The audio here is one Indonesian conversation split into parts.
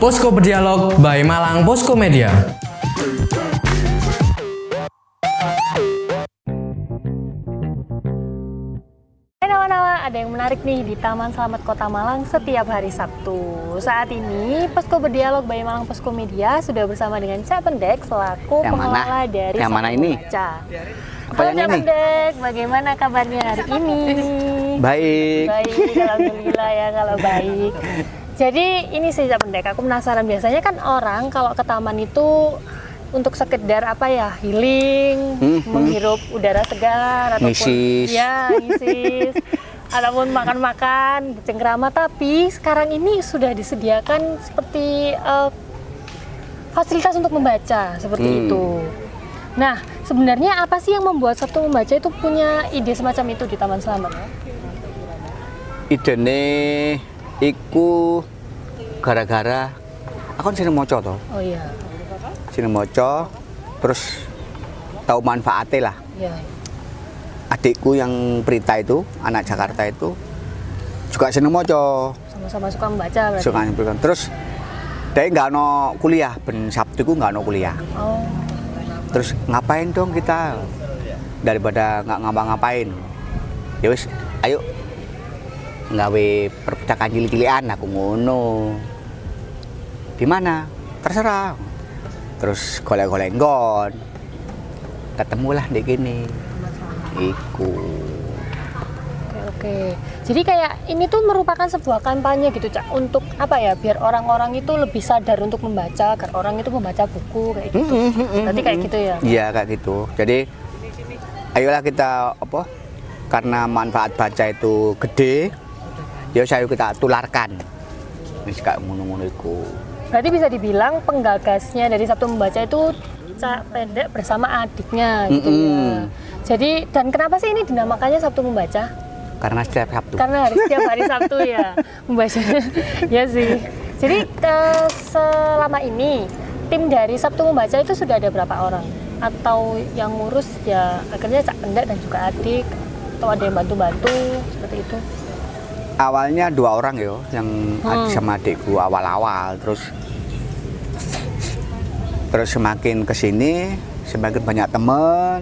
Posko Berdialog by Malang Posko Media. Hai nawa-nawa, ada yang menarik nih di Taman Selamat Kota Malang setiap hari Sabtu. Saat ini, Posko Berdialog by Malang Posko Media sudah bersama dengan Cak Pendek selaku Yang mana? pengelola dari Yang mana Sapu ini? Baca. Apa Halo yang Cak ini? Pendek, bagaimana kabarnya hari ini? Baik. Baik, alhamdulillah ya kalau baik. Jadi ini sih Cak Pendek, aku penasaran biasanya kan orang kalau ke taman itu untuk sekedar apa ya healing, Hmm, hmm. menghirup udara segar ataupun Ngisis. ya ngisis ataupun makan-makan cengkrama tapi sekarang ini sudah disediakan seperti eh, fasilitas untuk membaca seperti Hmm. itu. Nah, sebenarnya apa sih yang membuat Sabtu membaca itu punya ide semacam itu di Taman Selamat? Idene iku gara-gara aku kan sering maca to. Oh iya, Sering maca terus tahu manfaatnya lah. iya. Adikku yang Prita itu, anak Jakarta itu juga seneng maca. sama-sama suka membaca berarti. Suka nyebutkan. Terus dia nggak no kuliah, ben Sabtu ku nggak no kuliah. Oh, Terus ngapain dong kita daripada nggak ngapa-ngapain. Ya wis, ayo nggawe perpustakaan cilik-cilikan aku ngono. Di mana? Terserah. Terus golek-golek nggon. Ketemulah di kene. Iku. oke oke. Jadi kayak ini tuh merupakan sebuah kampanye gitu, Cak, untuk apa ya? Biar orang-orang itu lebih sadar untuk membaca, agar orang itu membaca buku kayak gitu. Berarti kayak gitu ya. Iya kayak gitu. Jadi ayolah kita apa? Karena manfaat baca itu gede, ya saya kita tularkan. Wis kayak ngono-ngono iku. Berarti bisa dibilang penggagasnya dari Sabtu membaca itu Cak Pendek bersama adiknya gitu ya. Mm-mm. Jadi dan kenapa sih ini dinamakannya Sabtu membaca? Karena setiap Sabtu. Karena hari setiap hari Sabtu ya membaca. ya sih. Jadi eh, selama ini tim dari Sabtu membaca itu sudah ada berapa orang? Atau yang ngurus ya akhirnya Cak Pendek dan juga adik atau ada yang bantu-bantu seperti itu? awalnya dua orang yo yang adik Hmm. sama adikku awal-awal terus terus semakin kesini semakin banyak temen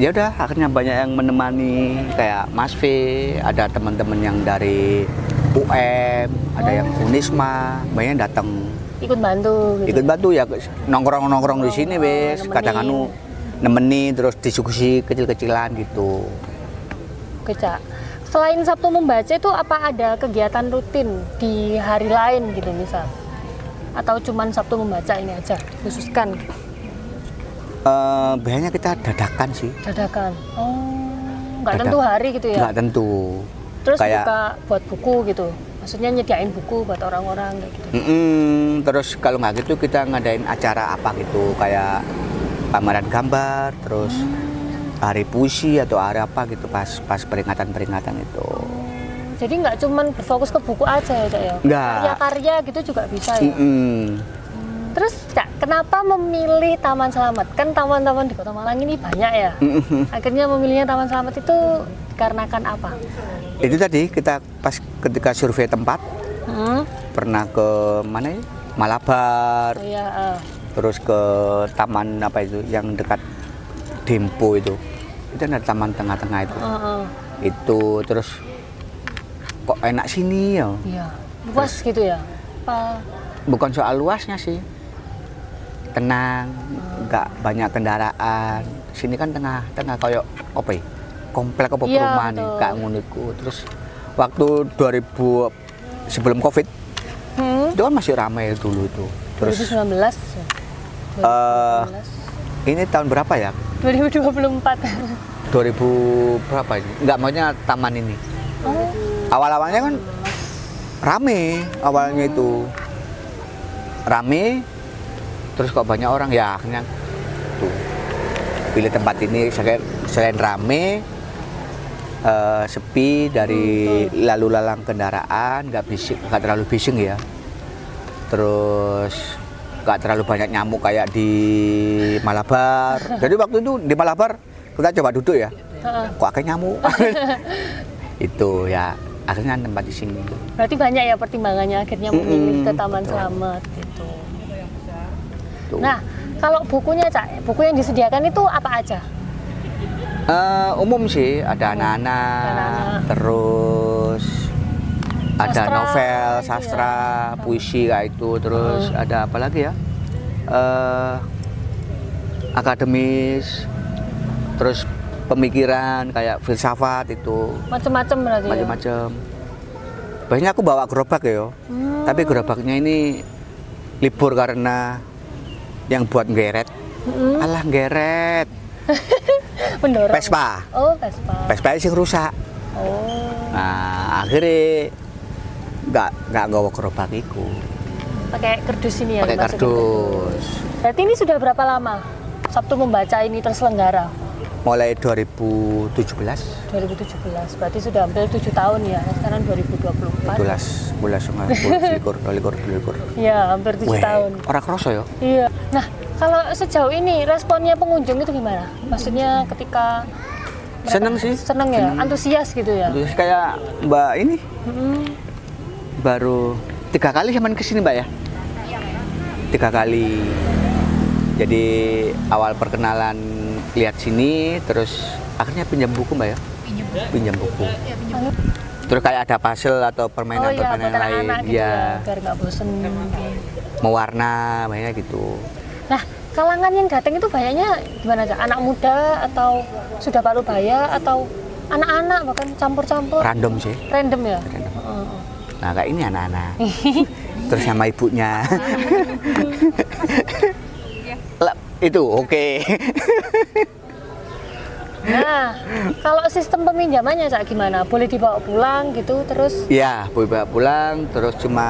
ya udah akhirnya banyak yang menemani kayak Mas V ada teman-teman yang dari UM ada yang Oh. Unisma banyak yang datang Ikut bantu gitu. ikut bantu ya nongkrong nongkrong di sini Oh, wes Nemenin. kadang anu nemeni terus diskusi kecil-kecilan gitu Oke, Cak. Selain Sabtu membaca itu apa ada kegiatan rutin di hari lain gitu misal? Atau cuman Sabtu membaca ini aja khususkan Eh biasanya kita dadakan sih dadakan. Oh, nggak Dadak- tentu hari gitu ya. nggak tentu Terus kayak buka buat buku gitu. Maksudnya nyediain buku buat orang-orang kayak gitu. Mm-mm, terus kalau nggak gitu kita ngadain acara apa gitu kayak pameran gambar terus Hmm. hari puisi atau hari apa gitu pas pas peringatan peringatan itu Oh, Jadi nggak cuman berfokus ke buku aja ya, Cak ya. Nggak. Karya-karya gitu juga bisa ya. Mm-mm. Terus, Cak, kenapa memilih Taman Selamat? Kan taman-taman di Kota Malang ini banyak ya. Mm-mm. Akhirnya memilihnya Taman Selamat itu dikarenakan apa? itu tadi kita pas ketika survei tempat Hmm? pernah ke mana ya Malabar Oh iya, eh. terus ke taman apa itu yang dekat Dempo itu itu ada taman tengah-tengah itu Eh, eh. itu terus kok enak sini ya iya. Luas gitu ya? Apa? bukan soal luasnya sih tenang nggak banyak kendaraan sini kan tengah tengah kayak apa ya komplek apa Iya, perumahan ya? betul. nggak nguniku terus waktu 2000 sebelum covid Hmm? itu kan masih ramai dulu itu terus 2019? Eh. ini tahun berapa ya 2024. 2000 berapa ini nggak maunya taman ini oh, awal awalnya kan rame awalnya itu rame terus kok banyak orang ya akhirnya tuh pilih tempat ini selain, selain rame eh, sepi dari lalu lalang kendaraan nggak bising nggak terlalu bising ya terus nggak terlalu banyak nyamuk kayak di Malabar jadi waktu itu di Malabar kita coba duduk ya Heeh. kok akeh nyamuk itu ya akhirnya tempat di sini Berarti banyak ya pertimbangannya akhirnya memilih Mm-mm, ke Taman betul. Selamat gitu. Tuh. Nah, kalau bukunya Cak, buku yang disediakan itu apa aja? Eh, umum sih ada anak-anak anak-anak. terus ada Sastra, novel gitu ya. sastra puisi kayak itu terus ada apa lagi ya Eh, akademis terus pemikiran kayak filsafat itu Macam-macam berarti. ya? macam-macam biasanya aku bawa gerobak ya Hmm. tapi gerobaknya ini libur karena yang buat geret Mm-mm. alah geret Mendorong. Vespa Oh, Vespa. Vespa sih rusak Oh, Nah, akhirnya nggak nggak gawa gerobak iku. pakai kardus ini ya. Pakai dimasukin kardus. Berarti ini sudah berapa lama Sabtu membaca ini terselenggara? Mulai 2017, 2017. Berarti sudah hampir 7 tahun ya. Sekarang 2024. 12, 11, 12, likur, likur, likur. Iya, hampir 7 Weh, tahun. Ora kroso ya. Iya. Nah, kalau sejauh ini responnya pengunjung itu gimana? Maksudnya ketika mereka- Seneng Iya, sih. Seneng ya, antusias gitu ya. Terus kayak Mbak ini Mm-mm. baru tiga kali cuman kesini Mbak ya? Tiga kali. Jadi awal perkenalan lihat sini, terus akhirnya pinjam buku Mbak ya? Pinjam buku. Terus kayak ada puzzle Oh atau iya, permainan-permainan buat lain. anak-anak gitu Iya. ya, biar nggak bosen. mewarna banyak gitu Nah, kalangan yang datang itu banyaknya gimana aja? Anak muda atau sudah baru baya atau anak-anak bahkan campur-campur random sih random ya? Random. Heeh. nah kayak ini anak-anak terus sama ibunya Lep, itu oke Nah, kalau sistem peminjamannya Cak gimana? Boleh dibawa pulang gitu terus? ya bawa pulang terus cuma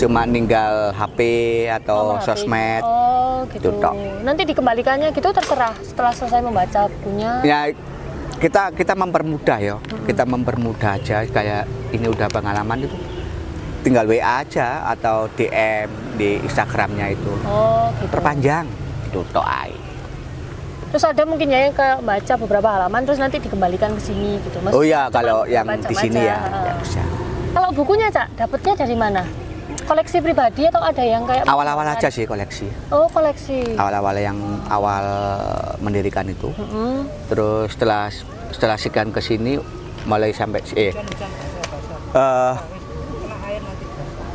cuma ninggal HP nomor HP? atau Oh, sosmed Oh, gitu. Itu tok. Nanti dikembalikannya gitu terserah setelah selesai membaca bukunya. ya kita kita mempermudah ya kita mempermudah aja kayak ini udah pengalaman itu tinggal WA aja atau DM di Instagramnya itu Oh, gitu. perpanjang itu toh ai. Terus ada mungkin ya yang kayak baca beberapa halaman terus nanti dikembalikan ke sini gitu. Mas, oh iya cuma kalau yang di baca-baca. sini ya, ya Heeh. bisa Kalau bukunya Cak, dapatnya dari mana? Koleksi pribadi atau ada yang kayak awal-awal aja Ah. sih koleksi Oh, koleksi. awal-awal yang awal mendirikan itu Mm. terus setelah setelah sekian ke sini mulai sampai eh eh,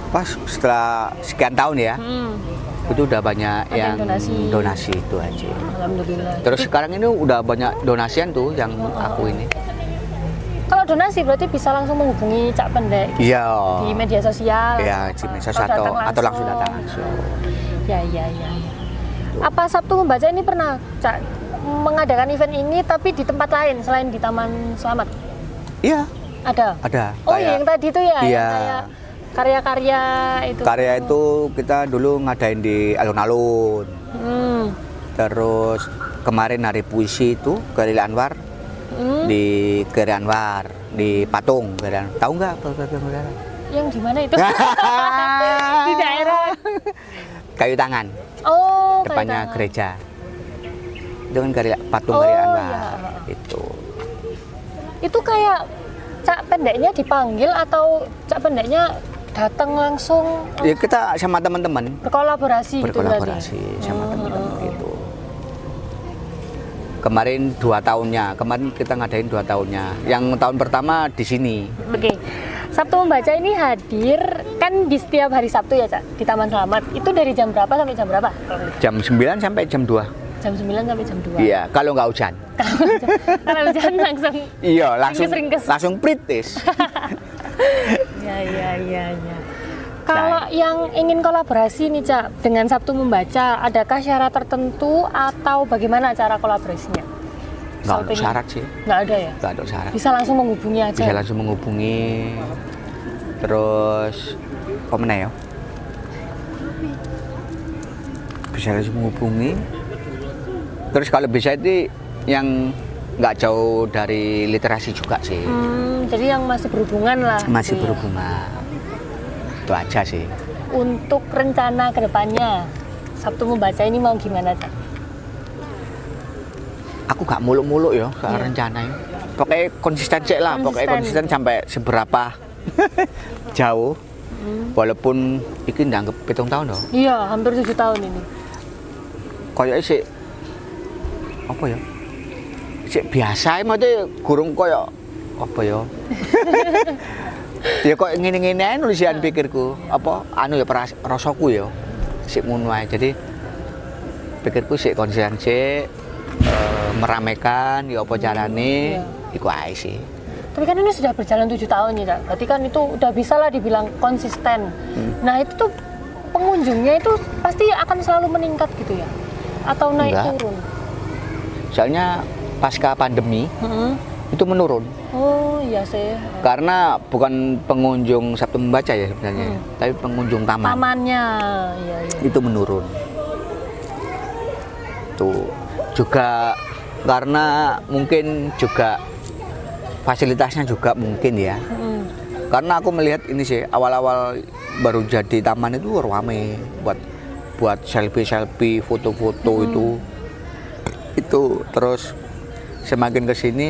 pas setelah sekian tahun ya Mm. itu udah banyak Ada yang yang donasi. donasi itu aja Alhamdulillah. terus sekarang ini udah banyak donasian tuh yang aku ini Kalau donasi berarti bisa langsung menghubungi Cak Pendek iya di media sosial. iya Jimmy Atau Sos atau datang atau langsung datang langsung Ya, ya, ya. ya. Apa Sabtu membaca ini pernah Cak mengadakan event ini tapi di tempat lain selain di Taman Selamat? iya Ada. ada Oh, kayak- iya yang tadi itu ya, yang Iya. kayak karya-karya itu. Karya itu kita dulu ngadain di alun-alun. Hmm. Terus kemarin hari puisi itu Geril Anwar Hmm. di Geril Anwar di Patung Geril Anwar. Tahu nggak apa Patung Geril Anwar? Yang di mana itu? di daerah. Kayu tangan Oh, kayak depannya tangan. gereja. Itu kan Geril Patung Oh, Geril iya. Anwar itu. Itu kayak Cak Pendeknya dipanggil atau Cak Pendeknya datang langsung Ya kita sama teman-teman berkolaborasi, berkolaborasi gitu berarti? sama Oh, teman-teman oh, oh. gitu. Kemarin dua tahunnya, kemarin kita ngadain dua tahunnya. Yang tahun pertama di sini, Oke. Sabtu membaca ini hadir kan di setiap hari Sabtu ya, Cak, di Taman Selamat. Itu dari jam berapa sampai jam berapa? jam 9 sampai jam 2 Jam 9 sampai jam 2. iya kalau nggak hujan Kalau hujan langsung. iya langsung Ringkes-ringkes. langsung pritis Ya, ya, ya, ya. Nah. Kalau yang ingin kolaborasi nih, Cak, dengan Sabtu membaca, adakah syarat tertentu atau bagaimana cara kolaborasinya? nggak ada Samping- syarat sih Nggak ada ya? nggak ada syarat Bisa langsung menghubungi aja. bisa langsung menghubungi terus kok mana ya bisa langsung menghubungi terus kalau bisa itu yang nggak jauh dari literasi juga sih Hmm, jadi yang masih berhubungan lah. gitu masih ya. berhubungan itu aja sih Untuk rencana kedepannya, Sabtu membaca ini mau gimana, Cak? aku gak muluk-muluk ya soal Iya. rencana ya. pokoknya konsisten sih lah pokoknya Konsisten. konsisten sampai seberapa jauh walaupun iki ndanggep pitung tahun loh Iya, hampir tujuh tahun ini. koyoknya sih apa ya sih biasa emang tuh gurung koyok apa ya ya kok ngini-ngini aja nulisan pikirku apa anu ya peras rasaku ya sih ngono ae. jadi pikirku sih konsisten sih eh, meramekan ya apa carane iku ae sih Tapi kan ini sudah berjalan tujuh tahun ya, Cak. Berarti kan itu udah bisa lah dibilang konsisten. Hmm. Nah itu tuh pengunjungnya itu pasti akan selalu meningkat gitu ya? Atau naik Enggak. turun? soalnya pasca pandemi Mm-mm. itu menurun Oh iya sih. karena bukan pengunjung Sabtu membaca ya sebenarnya tapi pengunjung taman Tamannya, iya iya. itu menurun. Tuh juga karena mungkin juga fasilitasnya juga mungkin ya. Mm-mm. Karena aku melihat ini sih awal-awal baru jadi taman itu rame buat buat selfie-selfie, foto-foto itu itu terus semakin ke sini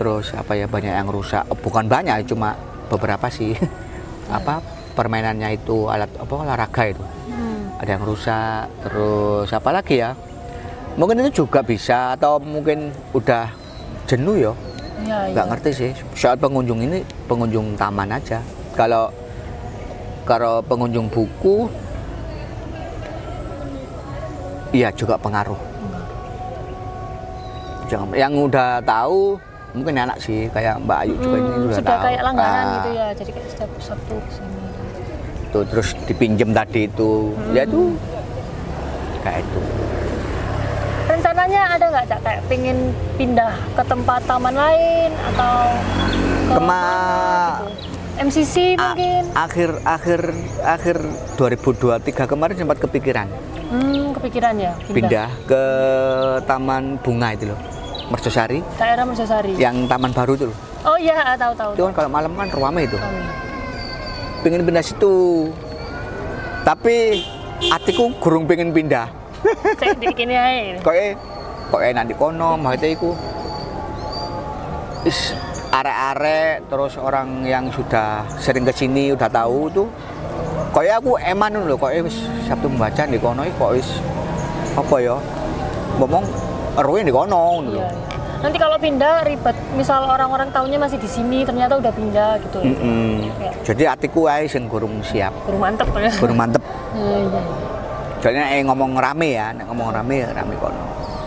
terus apa ya banyak yang rusak Eh, bukan banyak cuma beberapa sih apa permainannya itu alat apa olahraga itu ada yang rusak terus apa lagi ya mungkin itu juga bisa atau mungkin udah jenuh ya Iya iya. nggak ngerti sih soal pengunjung ini pengunjung taman aja kalau kalau pengunjung buku iya juga pengaruh Hmm. Jangan- yang udah tahu mungkin enak sih kayak Mbak Ayu juga ini Hmm, udah sudah tahu. kayak langganan Ah, gitu ya, jadi kayak setiap Sabtu kesini. tuh, terus dipinjem tadi itu Hmm. ya itu kayak itu Rencananya ada nggak Cak kayak pingin pindah ke tempat taman lain atau ke Kema- mana gitu? MCC A- mungkin? akhir akhir akhir 2023 kemarin sempat kepikiran Hmm, kepikiran ya pindah ke taman bunga itu loh Mercosari Daerah Mercosari. yang taman baru itu loh Oh iya, tahu tahu. itu kan kalau malam kan ruame itu Tahu. pengen pindah situ tapi hatiku gurung pengen pindah Cek di kini aja. kok eh kok enak di kono maksudnya iku is arek-arek terus orang yang sudah sering ke sini udah tahu tuh kayak aku eman dulu kok eh wis Sabtu membaca di kono iki kok wis apa ya ngomong ruin di kono ngono lho. Iya. Nanti kalau pindah ribet. Misal orang-orang taunya masih di sini, ternyata udah pindah gitu. Hmm. Mm-mm. Ya. Jadi hatiku ae sing gurung siap, Guru mantep ya. gurung mantep. Iya, iya. Soalnya eh ngomong rame ya, nek ngomong rame ya rame kono.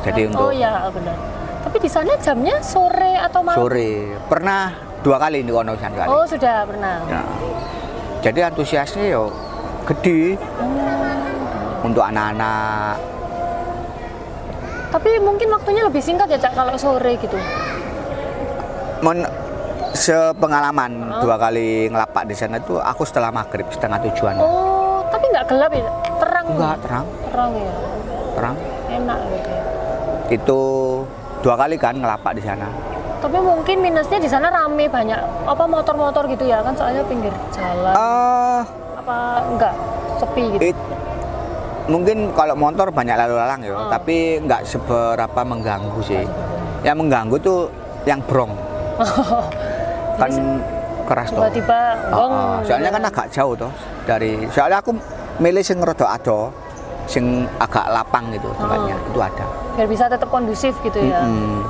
Jadi untuk Oh iya, benar. Tapi di sana jamnya sore atau malam? sore pernah dua kali di kono satu kali. Oh, sudah pernah. Ya. Jadi antusiasnya yo gede Hmm. untuk anak-anak. Tapi mungkin waktunya lebih singkat ya, Cak, kalau sore gitu. Men sepengalaman Oh. dua kali ngelapak di sana tuh aku setelah maghrib setengah tujuan. Oh, tapi nggak gelap ya? Terang. Enggak terang, Terang ya. terang. Enak gitu. ya. Itu dua kali kan ngelapak di sana. Tapi mungkin minusnya di sana rame banyak apa motor-motor gitu ya kan soalnya pinggir jalan Eh, apa enggak sepi gitu. It, mungkin kalau motor banyak lalu lalang ya, tapi nggak seberapa mengganggu sih. Yang mengganggu tuh yang brong. kan keras tuh. Tiba-tiba gong. Ah, ah. soalnya kan agak jauh toh dari soalnya aku milih sing rada ado sing agak lapang gitu tempatnya itu ada biar bisa tetap kondusif gitu ya. Mm.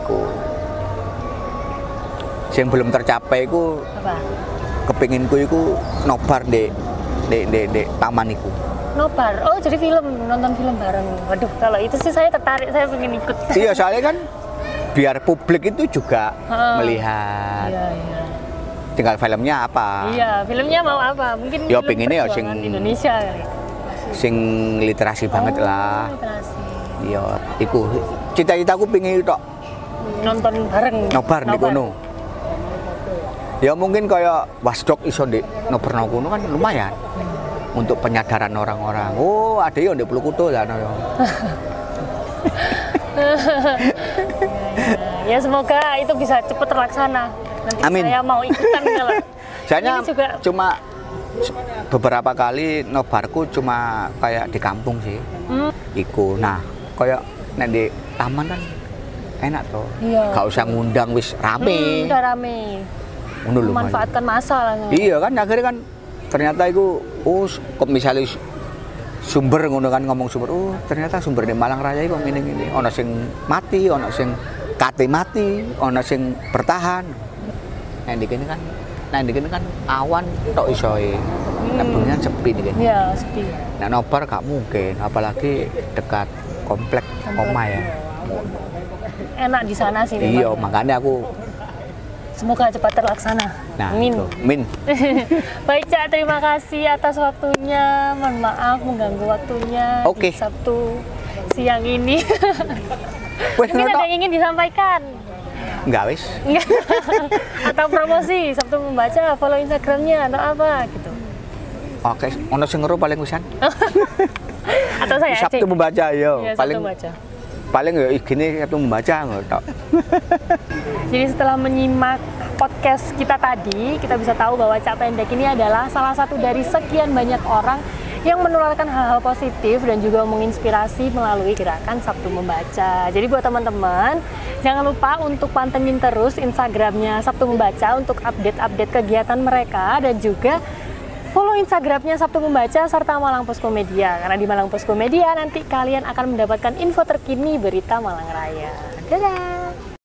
Iku. sing belum tercapai ku Apa? kepinginku iku nobar di di di, di taman iku Nobar. Oh, jadi film nonton film bareng. Waduh, kalau itu sih saya tertarik, saya pengen ikut. iya soalnya kan biar publik itu juga Ah. melihat Iya, iya. tinggal filmnya apa Iya, filmnya mau apa? Mungkin Ah. Ya, film pengennya ya perjuangan sing- Indonesia kali. sing literasi banget Oh, lah literasi. iya iku cita-citaku pingin tok Hmm, Nonton bareng. nobar di kono. Ya mungkin kayak wasdok iso di nobar nang kono kan lumayan Hmm. untuk penyadaran orang-orang. Oh, ada yang di Pulukuto sana ya. Ya, semoga itu bisa cepat terlaksana. Nanti Amin. saya mau ikutan kalau. Saya Ini juga- cuma se- beberapa kali nobarku cuma kayak di kampung sih. Hmm. Iku. Nah, kayak nek di taman kan enak toh. Iya. Gak usah ngundang wis Hmm, rame. udah rame. Ngono lho, Mas. Memanfaatkan masa lah. Iya kan akhirnya kan ternyata itu oh s- kok misalnya s- sumber ngono kan ngomong sumber oh ternyata sumber di Malang Raya kok ngene ngene ono sing mati ono sing kate mati ono sing bertahan nah di kene kan nah di kene kan awan tok isoe nah benginya sepi di kene Iya, sepi. nah nobar gak mungkin apalagi dekat komplek oma ya Enak di sana sih. memang. iya makanya aku Semoga cepat terlaksana. nah Amin. itu. min Baik Cak, terima kasih atas waktunya. Mohon maaf mengganggu waktunya Oke. di Sabtu siang ini. wes Mungkin ada ngono yang ingin disampaikan. enggak wis Enggak. atau promosi Sabtu membaca, follow Instagramnya atau apa gitu. oke ono sing ngeru paling wisan Atau saya Sabtu Aceh. membaca yo. Iya, Sabtu paling membaca. paling yo gini Sabtu membaca ngono tok. Jadi setelah menyimak podcast kita tadi, kita bisa tahu bahwa Cak Pendek ini adalah salah satu dari sekian banyak orang yang menularkan hal-hal positif dan juga menginspirasi melalui gerakan Sabtu Membaca. Jadi buat teman-teman, jangan lupa untuk pantengin terus Instagramnya Sabtu Membaca untuk update-update kegiatan mereka dan juga follow Instagramnya Sabtu Membaca serta Malang Posko Media karena di Malang Posko Media nanti kalian akan mendapatkan info terkini berita Malang Raya. Dadah!